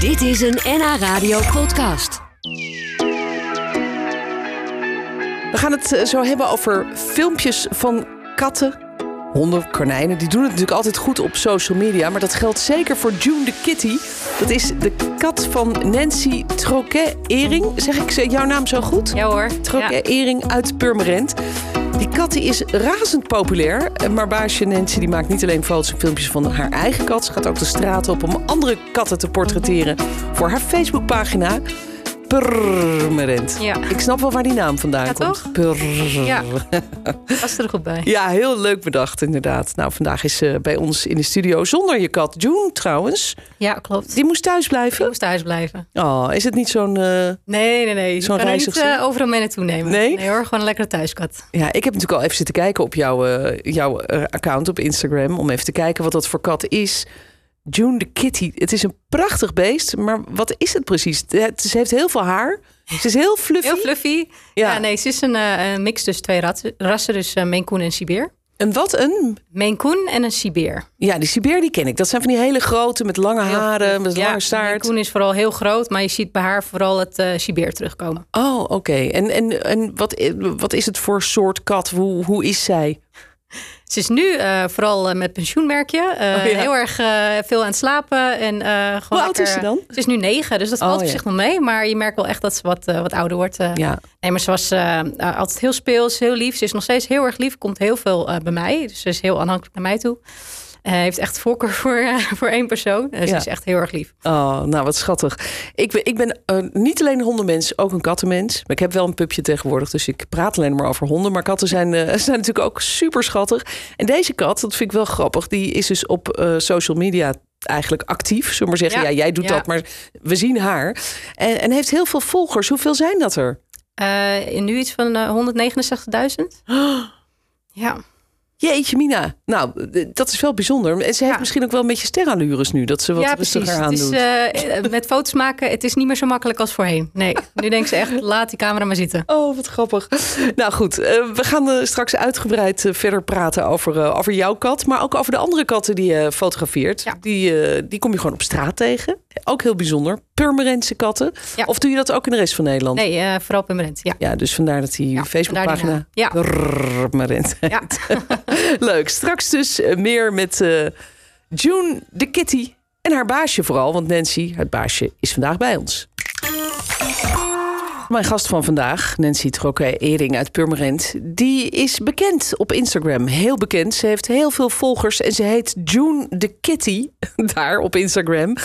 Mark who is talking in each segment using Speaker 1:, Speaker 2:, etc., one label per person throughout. Speaker 1: Dit is een NH Radio podcast.
Speaker 2: We gaan het eh, zo hebben over filmpjes van katten, honden, konijnen. Die doen het natuurlijk altijd goed op social media. Maar dat geldt zeker voor June de Kitty. Dat is de kat van Nancy Troquet-Ering. Zeg ik ze- jouw naam zo goed?
Speaker 3: Ja hoor. Ja.
Speaker 2: Troquet-Ering uit Purmerend. Die kat die is razend populair. Eh, Maar baasje Nancy die maakt niet alleen foto's en filmpjes van haar eigen kat. Ze gaat ook de straat op om andere katten te portretteren voor haar Facebookpagina. Purmerend.
Speaker 3: Ja.
Speaker 2: Ik snap wel waar die naam vandaan
Speaker 3: Ja,
Speaker 2: komt.
Speaker 3: toch?
Speaker 2: Purr.
Speaker 3: Ja. Was er goed bij.
Speaker 2: Ja, heel leuk bedacht inderdaad. Nou, vandaag is eh, bij ons in de studio zonder je kat June trouwens.
Speaker 3: Ja, klopt.
Speaker 2: Die moest thuis
Speaker 3: Je
Speaker 2: blijven.
Speaker 3: moest thuis blijven.
Speaker 2: Oh, is het niet zo'n... eh,
Speaker 3: Nee, nee, nee. Je
Speaker 2: Zo'n
Speaker 3: kan er niet
Speaker 2: reizigster?
Speaker 3: eh, overal mee naartoe nemen.
Speaker 2: Nee?
Speaker 3: nee hoor, gewoon een lekkere thuiskat.
Speaker 2: Ja, ik heb natuurlijk al even zitten kijken op jouw, eh, jouw eh, account op Instagram. Om even te kijken wat dat voor kat is. June de Kitty. Het is een prachtig beest, maar wat is het precies? Het, ze heeft heel veel haar. Ze is heel fluffy.
Speaker 3: Heel fluffy.
Speaker 2: Ja.
Speaker 3: Ja, nee, ze is een, eh, een mix tussen twee rassen, rassen dus eh, Maine Coon en Sibeer.
Speaker 2: En wat een...
Speaker 3: Maine Coon en een Sibeer.
Speaker 2: Ja, die Sibeer die ken ik. Dat zijn van die hele grote met lange
Speaker 3: Heel
Speaker 2: haren,
Speaker 3: fluffy.
Speaker 2: met
Speaker 3: ja,
Speaker 2: lange
Speaker 3: Maine
Speaker 2: staart.
Speaker 3: Coon is vooral heel groot, maar je ziet bij haar vooral het eh Sibeer terugkomen.
Speaker 2: Oh, oké. En, en, en wat, i- wat is het voor soort kat? Hoe, hoe is zij?
Speaker 3: Ze is nu eh, vooral eh, met pensioenmerkje. eh,
Speaker 2: Oh, ja.
Speaker 3: Heel erg eh, veel aan het slapen. En, eh, gewoon
Speaker 2: Hoe oud
Speaker 3: lekker-
Speaker 2: is ze dan?
Speaker 3: Ze is nu negen, dus dat
Speaker 2: Oh,
Speaker 3: valt op
Speaker 2: ja.
Speaker 3: zich nog mee. Maar je merkt wel echt dat ze wat, eh, wat ouder wordt. eh.
Speaker 2: Ja,
Speaker 3: Nee, maar ze was eh, eh, altijd heel speels, heel lief. Ze is nog steeds heel erg lief, komt heel veel eh, bij mij. Dus ze is heel aanhankelijk naar mij toe. Eh, heeft echt voorkeur voor, eh, voor één persoon. Eh,
Speaker 2: Ja.
Speaker 3: Ze is echt heel erg lief.
Speaker 2: Oh, nou wat schattig. Ik ben, ik ben eh, niet alleen een hondenmens, ook een kattenmens. Maar ik heb wel een pupje tegenwoordig, dus ik praat alleen maar over honden. Maar katten zijn, eh, zijn natuurlijk ook super schattig. En deze kat, dat vind ik wel grappig, die is dus op eh, social media eigenlijk actief. Zullen we maar zeggen, ja,
Speaker 3: Ja,
Speaker 2: jij doet
Speaker 3: ja.
Speaker 2: dat, maar we zien haar. En, en heeft heel veel volgers. Hoeveel zijn dat er?
Speaker 3: Eh, nu iets van eh, 169.000. Ja.
Speaker 2: Jeetje, Mina. Nou, eh, dat is wel bijzonder. En ze heeft
Speaker 3: Ja.
Speaker 2: misschien ook wel een beetje sterallures nu, dat ze wat
Speaker 3: ja,
Speaker 2: rustiger aan
Speaker 3: Het is,
Speaker 2: doet.
Speaker 3: eh, eh, met foto's maken, het is niet meer zo makkelijk als voorheen. Nee, nu denken ze echt, laat die camera maar zitten.
Speaker 2: Oh, wat grappig. Nou goed, eh, we gaan eh, straks uitgebreid eh, verder praten over, eh, over jouw kat. Maar ook over de andere katten die je fotografeert.
Speaker 3: Ja.
Speaker 2: Die, eh, die kom je gewoon op straat tegen. Ook heel bijzonder. Purmerendse katten.
Speaker 3: Ja.
Speaker 2: Of doe je dat ook in de rest van Nederland?
Speaker 3: Nee, eh, vooral permanent. Ja.
Speaker 2: Ja, dus vandaar dat die
Speaker 3: Ja,
Speaker 2: Facebookpagina
Speaker 3: vandaar die
Speaker 2: Purmerend
Speaker 3: Ja.
Speaker 2: Leuk. Straks dus eh, meer met eh, June de Kitty. En haar baasje vooral, want Nancy, het baasje, is vandaag bij ons. Mijn gast van vandaag, Nancy Trokke-Ering uit Purmerend... die is bekend op Instagram, heel bekend. Ze heeft heel veel volgers en ze heet June de Kitty, daar op Instagram.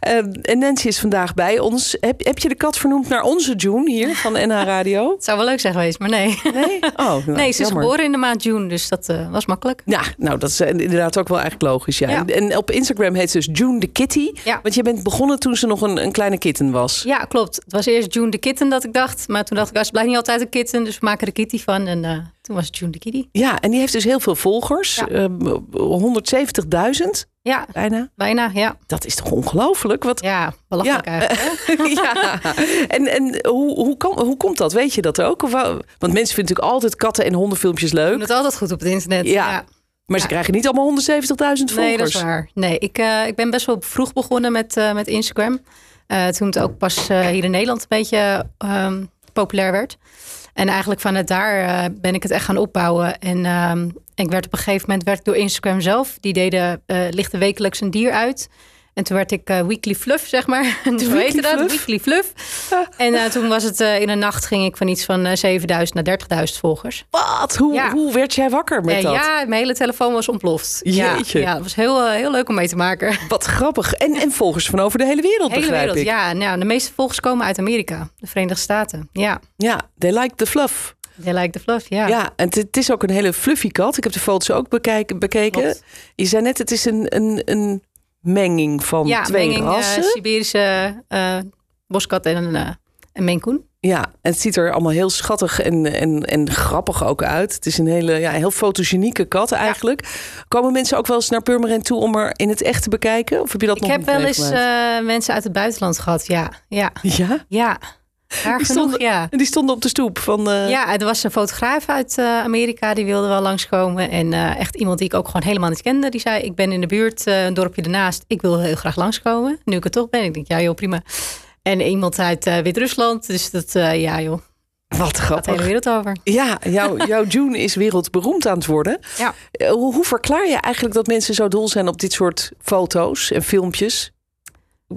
Speaker 2: Eh, en Nancy is vandaag bij ons. Heb, heb je de kat vernoemd naar onze June hier van NH Radio?
Speaker 3: Het zou wel leuk zijn geweest, maar nee.
Speaker 2: Nee? Oh, nou,
Speaker 3: Nee, ze is
Speaker 2: jammer.
Speaker 3: geboren in de maand juni, dus dat eh, was makkelijk.
Speaker 2: Ja, nou, dat is eh, inderdaad ook wel eigenlijk logisch. Ja.
Speaker 3: Ja.
Speaker 2: En op Instagram heet ze dus June de Kitty.
Speaker 3: Ja.
Speaker 2: Want je bent begonnen toen ze nog een, een kleine kitten was.
Speaker 3: Ja, klopt. Het was eerst June de Kitten dat ik dacht. Maar toen dacht ik, ah, ze blijft niet altijd een kitten, dus we maken er kitty van. En eh, toen was het June de Kitty.
Speaker 2: Ja, en die heeft dus heel veel volgers.
Speaker 3: Ja.
Speaker 2: Eh, 170.000
Speaker 3: Ja,
Speaker 2: bijna.
Speaker 3: bijna, ja.
Speaker 2: Dat is toch ongelooflijk? Wat...
Speaker 3: Ja, belachelijk
Speaker 2: Ja. eh,
Speaker 3: eigenlijk. hè?
Speaker 2: ja. En, en hoe, hoe, kan, hoe komt dat? Weet je dat ook? Of wa- want mensen vinden natuurlijk altijd katten en hondenfilmpjes
Speaker 3: Ik
Speaker 2: leuk.
Speaker 3: doe het altijd goed op het internet.
Speaker 2: Ja. Maar ze
Speaker 3: Ja.
Speaker 2: krijgen niet allemaal 170.000 volgers.
Speaker 3: Nee, dat is waar. Nee, ik, eh, ik ben best wel vroeg begonnen met, eh, met Instagram. Eh, toen het ook pas eh, hier in Nederland een beetje ehm, populair werd. En eigenlijk vanuit daar eh, ben ik het echt gaan opbouwen. En ehm, ik werd op een gegeven moment werd ik door Instagram zelf. Die deden, eh lichten wekelijks een dier uit. En toen werd ik eh, Weekly Fluff, zeg maar. Zo
Speaker 2: Weekly
Speaker 3: heette dat,
Speaker 2: Fluff?
Speaker 3: Weekly Fluff. en eh, toen was het eh, in een nacht ging ik van iets van eh, 7000 naar 30.000 volgers.
Speaker 2: Wat? Hoe,
Speaker 3: Ja.
Speaker 2: hoe werd jij wakker met
Speaker 3: Eh,
Speaker 2: dat?
Speaker 3: ja, mijn hele telefoon was ontploft. Ja,
Speaker 2: Jeetje.
Speaker 3: ja, het was heel, eh, heel leuk om mee te maken.
Speaker 2: Wat grappig. En, en volgers van over de hele wereld,
Speaker 3: Hele
Speaker 2: begrijp
Speaker 3: wereld,
Speaker 2: ik.
Speaker 3: ja. Nou, de meeste volgers komen uit Amerika, de Verenigde Staten. Ja,
Speaker 2: ja, they like the fluff.
Speaker 3: they like the fluff, ja.
Speaker 2: Ja, en het- het is ook een hele fluffy kat. Ik heb de foto's ook bekijk- bekeken.
Speaker 3: Klopt.
Speaker 2: Je zei net, het is een, een, een menging van
Speaker 3: Ja,
Speaker 2: twee
Speaker 3: menging, eh,
Speaker 2: rassen.
Speaker 3: Siberische eh, boskat en een, eh een Maine Coon.
Speaker 2: ja, en het ziet er allemaal heel schattig en, en, en grappig ook uit. Het is een hele, ja, heel fotogenieke kat eigenlijk. Komen mensen ook wel eens naar Purmerend toe om er in het echt te bekijken? Of heb je dat
Speaker 3: Ik
Speaker 2: nog
Speaker 3: heb
Speaker 2: niet
Speaker 3: wel eens
Speaker 2: meegemaakt?
Speaker 3: eh, mensen uit het buitenland gehad, ja. Ja,
Speaker 2: Ja?
Speaker 3: ja. Raar
Speaker 2: Die
Speaker 3: genoeg,
Speaker 2: stonden-
Speaker 3: ja.
Speaker 2: En die stonden op de stoep van... eh,
Speaker 3: Ja, er was een fotograaf uit eh, Amerika, die wilde wel langskomen. En eh, echt iemand die ik ook gewoon helemaal niet kende. Die zei, ik ben in de buurt, eh, een dorpje ernaast. Ik wil heel graag langskomen, nu ik er toch ben. Ik denk, ja joh, prima. En iemand uit eh, Wit-Rusland, dus dat, eh, ja joh,
Speaker 2: Wat
Speaker 3: gaat de hele
Speaker 2: grappig.
Speaker 3: wereld over.
Speaker 2: Ja, jouw, jouw June is wereldberoemd aan het worden.
Speaker 3: Ja.
Speaker 2: Eh, Hoe, hoe verklaar je eigenlijk dat mensen zo dol zijn op dit soort foto's en filmpjes?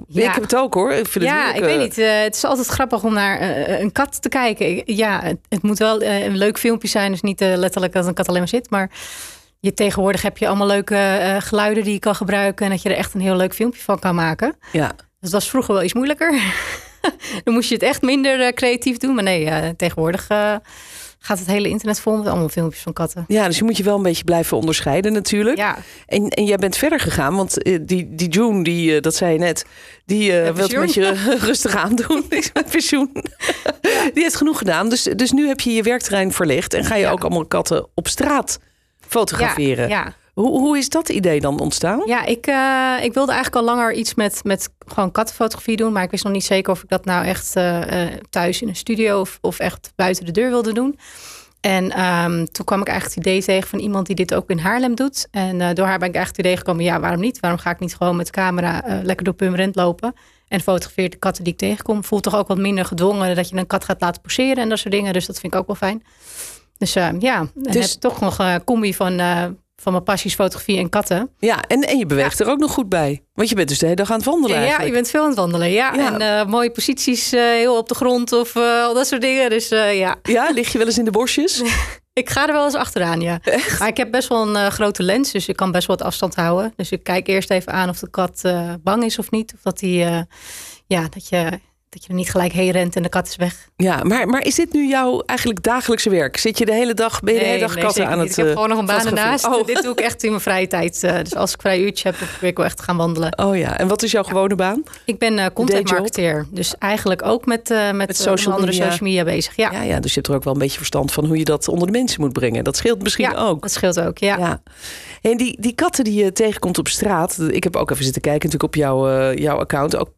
Speaker 3: Ja.
Speaker 2: Ik heb het ook hoor. Ik vind
Speaker 3: ja,
Speaker 2: het
Speaker 3: ik
Speaker 2: leuk, eh,
Speaker 3: weet niet. eh, het is altijd grappig om naar eh, een kat te kijken. Ik- ja, het, het moet wel eh, een leuk filmpje zijn. Dus niet eh, letterlijk dat een kat alleen maar zit. Maar je, tegenwoordig heb je allemaal leuke eh, geluiden die je kan gebruiken. En dat je er echt een heel leuk filmpje van kan maken. Dus
Speaker 2: Ja.
Speaker 3: Dat was vroeger wel iets moeilijker. Dan moest je het echt minder eh, creatief doen. Maar nee, eh, tegenwoordig eh, gaat het hele internet vol met allemaal filmpjes van katten.
Speaker 2: ja, dus je moet je wel een beetje blijven onderscheiden natuurlijk.
Speaker 3: Ja,
Speaker 2: En, en jij bent verder gegaan, want eh, die, die June, die, eh, dat zei je net, die eh,
Speaker 3: Met
Speaker 2: wil het met je rustig aandoen. Die is met pensioen. Die heeft genoeg gedaan. Dus, dus nu heb je je werkterrein verlicht en ga je
Speaker 3: Ja.
Speaker 2: ook allemaal katten op straat fotograferen.
Speaker 3: ja, ja.
Speaker 2: Hoe, hoe is dat idee dan ontstaan?
Speaker 3: Ja, ik, eh, ik wilde eigenlijk al langer iets met, met gewoon kattenfotografie doen. Maar ik wist nog niet zeker of ik dat nou echt eh, eh, thuis in een studio of, of echt buiten de deur wilde doen. En ehm, toen kwam ik eigenlijk het idee tegen van iemand die dit ook in Haarlem doet. En eh, door haar ben ik eigenlijk het idee gekomen, ja, waarom niet? Waarom ga ik niet gewoon met de camera eh, lekker door Purmerend lopen en fotografeer de katten die ik tegenkom? Voelt toch ook wat minder gedwongen dat je een kat gaat laten poseren en dat soort dingen. Dus dat vind ik ook wel fijn. Dus eh, ja, en
Speaker 2: Dus-
Speaker 3: heb toch nog een combi van, eh, van mijn passies fotografie en katten.
Speaker 2: Ja, en, en je beweegt er ook nog goed bij. Want je bent dus de hele dag aan het wandelen
Speaker 3: Ja, je
Speaker 2: eigenlijk.
Speaker 3: bent veel aan het wandelen. Ja,
Speaker 2: Ja.
Speaker 3: en eh, mooie posities, eh, heel op de grond of eh, al dat soort dingen. Dus eh, ja,
Speaker 2: Ja, lig je wel eens in de bosjes?
Speaker 3: ik ga er wel eens achteraan, ja. Maar ik heb best wel een eh, grote lens, dus ik kan best wel wat afstand houden. Dus ik kijk eerst even aan of de kat eh, bang is of niet. Of dat, die, eh, ja, dat, je, dat je er niet gelijk heen rent en de kat is weg.
Speaker 2: Ja, maar, maar is dit nu jouw eigenlijk dagelijkse werk? Zit je de hele dag, ben je de hele dag katten
Speaker 3: zeker
Speaker 2: aan
Speaker 3: niet.
Speaker 2: het...
Speaker 3: Ik heb
Speaker 2: eh, Oh.
Speaker 3: gewoon nog een baan
Speaker 2: fotograferen?
Speaker 3: ernaast. Dit doe ik echt in mijn vrije tijd. eh, dus als ik vrij uurtje heb, dan probeer ik wel echt te gaan wandelen.
Speaker 2: Oh, oh ja, en wat is jouw gewone baan?
Speaker 3: Ik ben eh
Speaker 2: Dayjob.
Speaker 3: content marketeer. Dus eigenlijk ook met, eh, met, eh,
Speaker 2: social
Speaker 3: andere
Speaker 2: media.
Speaker 3: social media bezig. Ja.
Speaker 2: Ja, ja, dus je hebt er ook wel een beetje verstand van hoe je dat onder de mensen moet brengen. Dat scheelt misschien
Speaker 3: ja,
Speaker 2: ook.
Speaker 3: Dat scheelt ook, ja.
Speaker 2: Ja. En die, die katten die je tegenkomt op straat. Ik heb ook even zitten kijken natuurlijk op jouw, eh, jouw account. Ook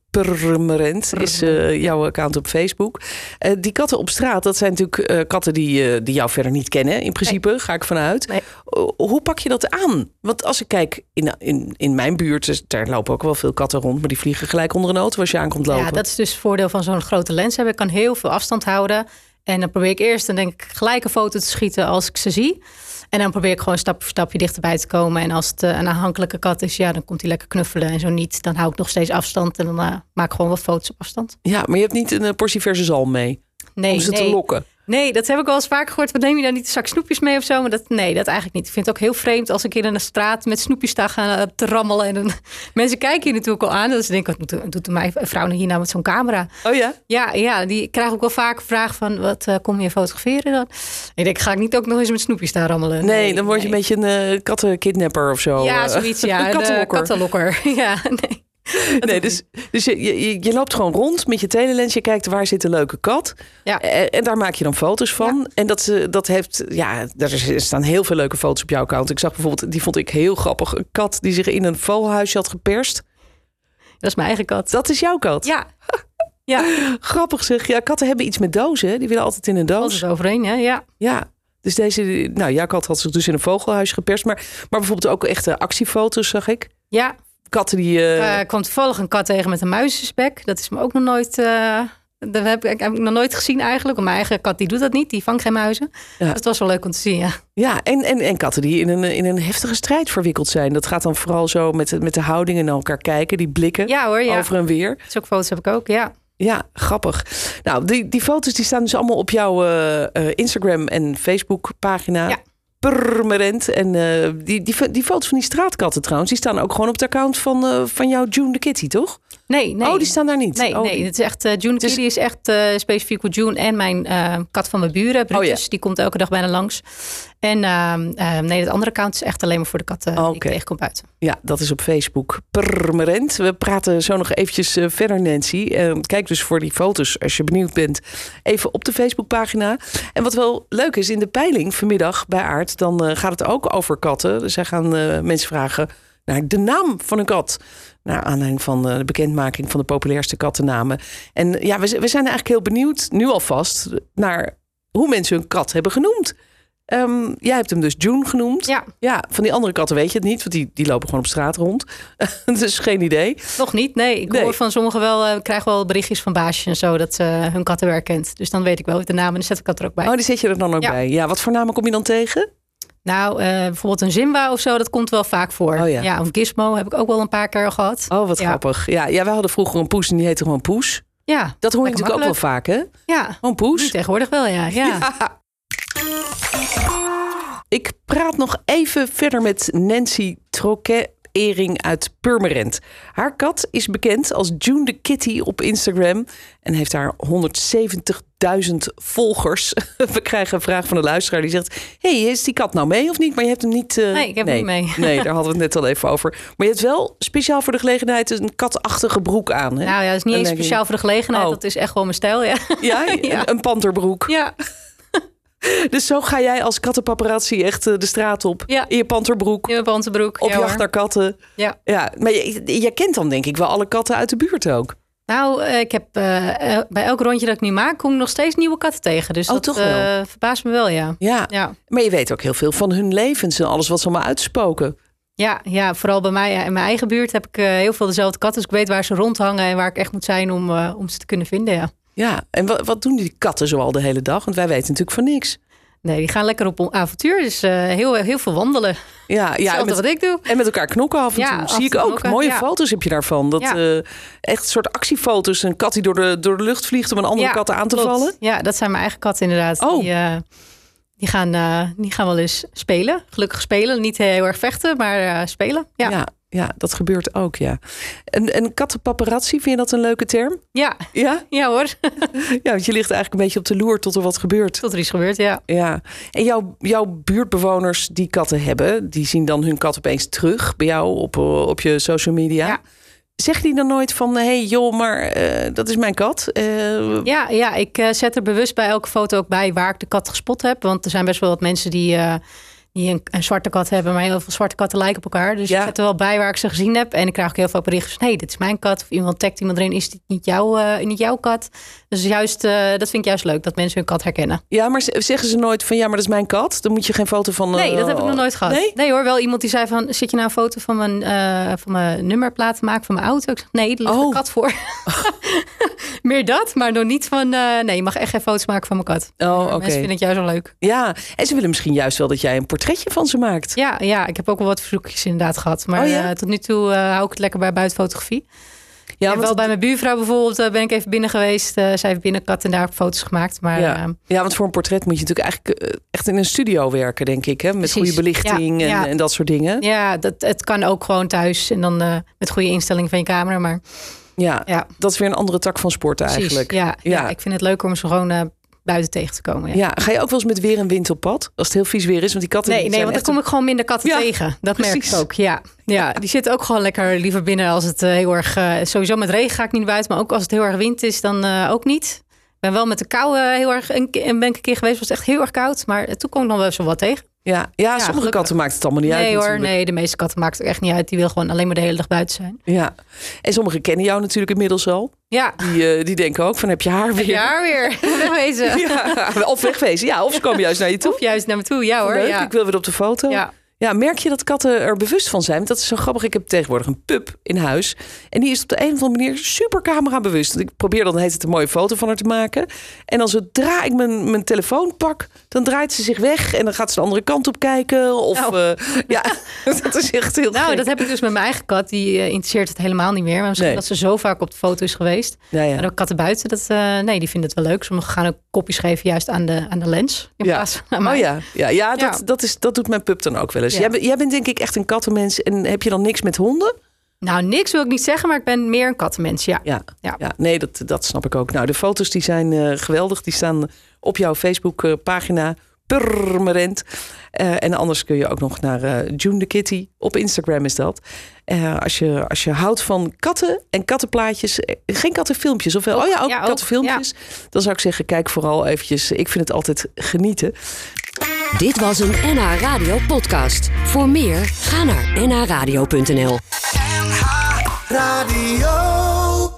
Speaker 2: permanent is eh, jouw account op Facebook. Eh, die katten op straat, dat zijn natuurlijk eh, katten die, eh, die jou verder niet kennen. In principe, ga ik vanuit.
Speaker 3: Nee.
Speaker 2: O- Hoe pak je dat aan? Want als ik kijk in, in, in mijn buurt, dus daar lopen ook wel veel katten rond. Maar die vliegen gelijk onder een auto als je aankomt lopen.
Speaker 3: Ja, dat is dus het voordeel van zo'n grote lens hebben. Ik kan heel veel afstand houden. En dan probeer ik eerst, dan denk ik, gelijk een foto te schieten als ik ze zie. En dan probeer ik gewoon stap voor stapje dichterbij te komen. En als het eh, een aanhankelijke kat is, ja, dan komt hij lekker knuffelen. En zo niet, dan hou ik nog steeds afstand. En dan eh, maak ik gewoon wat foto's op afstand.
Speaker 2: ja maar je hebt niet een eh, portie verse zalm mee.
Speaker 3: Nee,
Speaker 2: om ze
Speaker 3: nee.
Speaker 2: te lokken.
Speaker 3: Nee, dat heb ik wel eens vaak gehoord. Wat neem je dan niet een zak snoepjes mee of zo? Maar dat, nee, dat eigenlijk niet. Ik vind het ook heel vreemd als ik in een straat met snoepjes sta gaan eh, te rammelen. En dan, mensen kijken hier natuurlijk al aan. Dat ze denken, wat doet, doet mijn vrouw nou hier nou met zo'n camera?
Speaker 2: Oh ja?
Speaker 3: Ja, ja, die krijg ook wel vaak vraag van, wat eh, kom je fotograferen dan? Ik denk, ga ik niet ook nog eens met snoepjes daar rammelen?
Speaker 2: Nee, dan word je een beetje een eh, kattenkidnapper of zo.
Speaker 3: Ja,
Speaker 2: eh.
Speaker 3: zoiets, ja.
Speaker 2: Een kattenlokker.
Speaker 3: De kattenlokker. ja, nee.
Speaker 2: Nee, dus, dus je, je, je loopt gewoon rond met je telelens. Je kijkt waar zit een leuke kat. Eh,
Speaker 3: Ja.
Speaker 2: En, en daar maak je dan foto's van. En dat, ze- dat heeft, ja, daar is- er staan heel veel leuke foto's op jouw account. Ik zag bijvoorbeeld, die vond ik heel grappig. Een kat die zich in een valhuisje had geperst.
Speaker 3: Dat is mijn eigen kat.
Speaker 2: Dat is jouw kat.
Speaker 3: Ja. Ja,
Speaker 2: Grappig zeg. Ja, katten hebben iets met dozen. hè. Die willen altijd in een doos.
Speaker 3: alles overheen, hè? Ja.
Speaker 2: Ja. Dus deze, nou, jouw kat had zich dus in een vogelhuisje geperst. Maar, maar bijvoorbeeld ook echte actiefoto's zag ik.
Speaker 3: Ja,
Speaker 2: Katten die... eh,
Speaker 3: Eh, ik kwam toevallig een kat tegen met een muizenspek. Dat is me ook nog nooit. eh, dat heb ik, heb ik nog nooit gezien eigenlijk. Want Mijn eigen kat die doet dat niet. Die vangt geen muizen.
Speaker 2: Ja.
Speaker 3: Dus het was wel leuk om te zien. Ja.
Speaker 2: Ja, en, en, en katten die in een, in een heftige strijd verwikkeld zijn. Dat gaat dan vooral zo met, met de houdingen naar elkaar kijken, die blikken
Speaker 3: ja hoor, ja.
Speaker 2: over en weer.
Speaker 3: Zulke foto's heb ik ook. Ja.
Speaker 2: Ja, grappig. Nou, die, die foto's die staan dus allemaal op jouw eh, eh, Instagram en Facebook pagina.
Speaker 3: Ja.
Speaker 2: Permanent. En eh, die, die, fo- die foto's van die straatkatten trouwens, die staan ook gewoon op het account van, eh, van jouw June the Kitty, toch?
Speaker 3: Nee, nee.
Speaker 2: Oh, die staan daar niet.
Speaker 3: Nee,
Speaker 2: Oh,
Speaker 3: nee,
Speaker 2: die-
Speaker 3: het is echt, eh, June
Speaker 2: is-
Speaker 3: Kitty is echt eh, specifiek voor June en mijn eh, kat van mijn buren, Brutus.
Speaker 2: Oh ja.
Speaker 3: Die komt elke dag bijna langs. En ehm, ehm, nee, dat andere account is echt alleen maar voor de katten die ik
Speaker 2: Oh, Oké.
Speaker 3: tegenkom buiten.
Speaker 2: Ja, dat is op Facebook permanent. We praten zo nog eventjes eh, verder, Nancy. Eh, kijk dus voor die foto's, als je benieuwd bent, even op de Facebookpagina. En wat wel leuk is, in de peiling vanmiddag bij Aard... dan eh, gaat het ook over katten. Zij gaan eh, mensen vragen, naar de naam van een kat. Naar aanleiding van eh, de bekendmaking van de populairste kattennamen. En ja, we, z- we zijn eigenlijk heel benieuwd, nu alvast, naar hoe mensen hun kat hebben genoemd. Ehm, jij hebt hem dus June genoemd.
Speaker 3: Ja,
Speaker 2: Ja, van die andere katten weet je het niet, want die, die lopen gewoon op straat rond. dus geen idee.
Speaker 3: nog niet. Nee, ik
Speaker 2: Nee.
Speaker 3: hoor van sommigen wel, eh, ik krijg wel berichtjes van baasjes en zo dat ze hun katten weer herkent. Dus dan weet ik wel de naam en dan zet ik dat er ook bij.
Speaker 2: Oh, die zet je er dan ook
Speaker 3: Ja.
Speaker 2: bij. Ja, wat voor namen kom je dan tegen?
Speaker 3: Nou, eh, bijvoorbeeld een Zimba of zo, dat komt wel vaak voor.
Speaker 2: Oh ja.
Speaker 3: of Gizmo heb ik ook wel een paar keer gehad.
Speaker 2: Oh, wat
Speaker 3: Ja.
Speaker 2: grappig. Ja, ja, wij hadden vroeger een poes en die heette gewoon Poes.
Speaker 3: Ja,
Speaker 2: Dat hoor je
Speaker 3: Lekker
Speaker 2: natuurlijk ook wel vaak, hè?
Speaker 3: ja.
Speaker 2: Gewoon
Speaker 3: Nu
Speaker 2: Poes.
Speaker 3: tegenwoordig wel, ja. ja.
Speaker 2: Oh, Ja. Ik praat nog even verder met Nancy Troquet. Ering uit Purmerend. Haar kat is bekend als June the Kitty op Instagram en heeft daar 170.000 volgers. We krijgen een vraag van de luisteraar die zegt: Hey, is die kat nou mee of niet? Maar je hebt hem niet. eh,
Speaker 3: Nee, ik heb hem niet
Speaker 2: Nee, daar hadden we het net al even over. Maar je hebt wel speciaal voor de gelegenheid een katachtige broek aan. Hè?
Speaker 3: Nou ja, dat is niet
Speaker 2: Dan
Speaker 3: eens
Speaker 2: denk ik-
Speaker 3: speciaal voor de gelegenheid.
Speaker 2: Oh.
Speaker 3: Dat is echt gewoon mijn stijl, ja.
Speaker 2: ja,
Speaker 3: ja.
Speaker 2: Een, een panterbroek.
Speaker 3: Ja,
Speaker 2: Dus zo ga jij als kattenpaparazzi echt eh, de straat op.
Speaker 3: Ja.
Speaker 2: In je panterbroek.
Speaker 3: in mijn pantenbroek.
Speaker 2: Op
Speaker 3: ja,
Speaker 2: jacht
Speaker 3: hoor.
Speaker 2: naar katten.
Speaker 3: Ja.
Speaker 2: Ja, maar je, je kent dan denk ik wel alle katten uit de buurt ook.
Speaker 3: Nou, eh, ik heb eh, eh, bij elk rondje dat ik nu maak, kom ik nog steeds nieuwe katten tegen. Dus
Speaker 2: Oh,
Speaker 3: dat
Speaker 2: toch wel?
Speaker 3: eh, verbaast me wel, ja.
Speaker 2: Ja.
Speaker 3: Ja.
Speaker 2: Maar je weet ook heel veel van hun levens en alles wat ze allemaal uitspoken.
Speaker 3: Ja, ja, vooral bij mij eh, in mijn eigen buurt heb ik eh, heel veel dezelfde katten. Dus ik weet waar ze rondhangen en waar ik echt moet zijn om, eh, om ze te kunnen vinden, ja.
Speaker 2: Ja, en wat, wat doen die katten zoal de hele dag? Want wij weten natuurlijk van niks.
Speaker 3: Nee, die gaan lekker op avontuur. Dus eh, heel, heel veel wandelen.
Speaker 2: Ja, ja
Speaker 3: Ja,
Speaker 2: en,
Speaker 3: wat
Speaker 2: met,
Speaker 3: ik doe.
Speaker 2: en met elkaar knokken af en
Speaker 3: Ja,
Speaker 2: toe.
Speaker 3: af
Speaker 2: Zie
Speaker 3: en
Speaker 2: ik
Speaker 3: toe
Speaker 2: ook.
Speaker 3: knokken,
Speaker 2: Mooie
Speaker 3: ja.
Speaker 2: foto's heb je daarvan. Dat,
Speaker 3: Ja.
Speaker 2: eh, echt een soort actiefoto's. Een kat die door de, door de lucht vliegt om een andere
Speaker 3: Ja,
Speaker 2: kat aan te
Speaker 3: klopt.
Speaker 2: vallen.
Speaker 3: Ja, dat zijn mijn eigen katten inderdaad.
Speaker 2: Oh.
Speaker 3: Die, eh, die, gaan, eh, die gaan wel eens spelen. Gelukkig spelen. Niet heel erg vechten, maar eh, spelen. Ja. Ja.
Speaker 2: ja, ja, dat gebeurt ook, ja. En, en kattenpaparazzi, vind je dat een leuke term?
Speaker 3: Ja.
Speaker 2: Ja?
Speaker 3: hoor.
Speaker 2: Ja, want je ligt eigenlijk een beetje op de loer tot er wat gebeurt.
Speaker 3: Tot er iets gebeurt, ja.
Speaker 2: Ja. En jouw, jouw buurtbewoners die katten hebben, die zien dan hun kat opeens terug bij jou op, eh, op je social media.
Speaker 3: Ja.
Speaker 2: Zeg die dan nooit van, hé hey, joh, maar eh, dat is mijn kat. Eh,
Speaker 3: Ja, ja ik eh, zet er bewust bij elke foto ook bij waar ik de kat gespot heb. Want er zijn best wel wat mensen die, eh, die een, een zwarte kat hebben. Maar heel veel zwarte katten lijken op elkaar. Dus
Speaker 2: Ja.
Speaker 3: ik zet er wel bij waar ik ze gezien heb. En ik krijg ook heel veel berichten van... hey, dit is mijn kat. Of iemand tagt iemand erin. Is dit niet, jouw eh, niet jouw kat? Dus juist, eh, dat vind ik juist leuk. Dat mensen hun kat herkennen.
Speaker 2: ja, maar ze- zeggen ze nooit van, ja, maar dat is mijn kat. Dan moet je geen foto van... eh,
Speaker 3: Nee, dat heb ik nog nooit gehad.
Speaker 2: Nee?
Speaker 3: Nee? hoor, wel iemand die zei van... zit je nou een foto van mijn, eh, van mijn nummerplaat te maken van mijn auto? Ik zeg, nee, er ligt
Speaker 2: Oh.
Speaker 3: een kat voor. Meer dat, maar nog niet van... eh, nee, je mag echt geen foto's maken van mijn kat.
Speaker 2: Oh, oké.
Speaker 3: Mensen vinden het juist wel leuk.
Speaker 2: Ja, en ze willen misschien juist wel dat jij een portretje van ze maakt.
Speaker 3: Ja, ja, ik heb ook wel wat verzoekjes inderdaad gehad. Maar
Speaker 2: Oh, ja?
Speaker 3: eh, tot nu toe eh, hou ik het lekker bij buitenfotografie.
Speaker 2: Ja,
Speaker 3: Ja,
Speaker 2: want
Speaker 3: wel bij mijn buurvrouw bijvoorbeeld eh, ben ik even binnen geweest. Eh, zij heeft binnen kat en daar heb ik foto's gemaakt. Maar eh,
Speaker 2: Ja.
Speaker 3: ja,
Speaker 2: Ja, want voor een portret moet je natuurlijk eigenlijk eh, echt in een studio werken, denk ik. Hè? Met
Speaker 3: Precies.
Speaker 2: goede belichting
Speaker 3: Ja,
Speaker 2: en,
Speaker 3: ja.
Speaker 2: en dat soort dingen. Ja.
Speaker 3: ja dat, het kan ook gewoon thuis. En dan eh, met goede instelling van je camera. Maar ja,
Speaker 2: dat is weer een andere tak van sport eigenlijk.
Speaker 3: Precies, ja,
Speaker 2: Ja.
Speaker 3: ja. ik vind het leuk om ze gewoon eh, buiten tegen te komen. Ja.
Speaker 2: Ja, ga je ook wel eens met weer en wind op pad? Als het heel vies weer is, want die katten
Speaker 3: Nee,
Speaker 2: die
Speaker 3: nee,
Speaker 2: zijn
Speaker 3: want
Speaker 2: echt
Speaker 3: dan kom ik gewoon minder katten
Speaker 2: Ja,
Speaker 3: tegen. Dat merk
Speaker 2: precies.
Speaker 3: ik ook, ja. ja. Die zitten ook gewoon lekker liever binnen als het eh, heel erg... eh, sowieso met regen ga ik niet naar buiten, maar ook als het heel erg wind is, dan eh, ook niet. Ik ben wel met de kou eh, heel erg... En ben ik een keer geweest, was het echt heel erg koud. Maar eh, toen kwam ik nog wel zo wat tegen.
Speaker 2: Ja, ja, sommige
Speaker 3: gelukkig.
Speaker 2: katten maakt het allemaal niet uit
Speaker 3: nee hoor,
Speaker 2: natuurlijk.
Speaker 3: nee, de meeste katten maakt het echt niet uit. Die wil gewoon alleen maar de hele dag buiten zijn.
Speaker 2: Ja. En sommigen kennen jou natuurlijk inmiddels al.
Speaker 3: Ja,
Speaker 2: Die, eh, die denken ook van, heb je haar weer?
Speaker 3: ja weer. Wegwezen.
Speaker 2: Ja, Of wegwezen, ja. Of ze komen juist naar je toe.
Speaker 3: Of juist naar me toe, ja hoor.
Speaker 2: Leuk,
Speaker 3: ja.
Speaker 2: ik wil weer op de foto.
Speaker 3: Ja.
Speaker 2: Ja, merk je dat katten er bewust van zijn? Want Dat is zo grappig. Ik heb tegenwoordig een pup in huis. En die is op de een of andere manier super camerabewust. Want Ik probeer dan heet het een mooie foto van haar te maken. En dan zodra ik mijn, mijn telefoon pak, dan draait ze zich weg. En dan gaat ze de andere kant op kijken. Of
Speaker 3: Nou.
Speaker 2: eh, ja, dat is echt heel
Speaker 3: Nou,
Speaker 2: gek.
Speaker 3: dat heb ik dus met mijn eigen kat. Die eh, interesseert het helemaal niet meer. Maar misschien
Speaker 2: Nee.
Speaker 3: dat ze zo vaak op de foto is geweest.
Speaker 2: Ja, ja.
Speaker 3: Maar ook katten buiten, dat, eh, nee, die vinden het wel leuk. Sommigen gaan ook kopjes geven juist aan de, aan de lens. In
Speaker 2: Ja.
Speaker 3: plaats van aan mij.
Speaker 2: Oh ja, ja, ja, dat,
Speaker 3: Ja.
Speaker 2: Dat, is, dat doet mijn pup dan ook wel eens.
Speaker 3: Ja.
Speaker 2: Jij, bent- jij bent denk ik echt een kattenmens. En heb je dan niks met honden?
Speaker 3: Nou, niks wil ik niet zeggen, maar ik ben meer een kattenmens. Ja,
Speaker 2: Ja, ja.
Speaker 3: Ja.
Speaker 2: nee, dat, dat snap ik ook. Nou, de foto's die zijn eh, geweldig. Die staan op jouw Facebookpagina permanent. Eh, en anders kun je ook nog naar eh, June the Kitty. Op Instagram is dat. Eh, als, je, als je houdt van katten en kattenplaatjes. eh, Geen kattenfilmpjes, of wel?
Speaker 3: Ook,
Speaker 2: oh ja, ook
Speaker 3: ja, ook,
Speaker 2: kattenfilmpjes. Dan zou ik zeggen, kijk vooral eventjes. Ik vind het altijd genieten.
Speaker 1: Dit was een NH Radio podcast. Voor meer, ga naar nhradio.nl.
Speaker 4: NH Radio.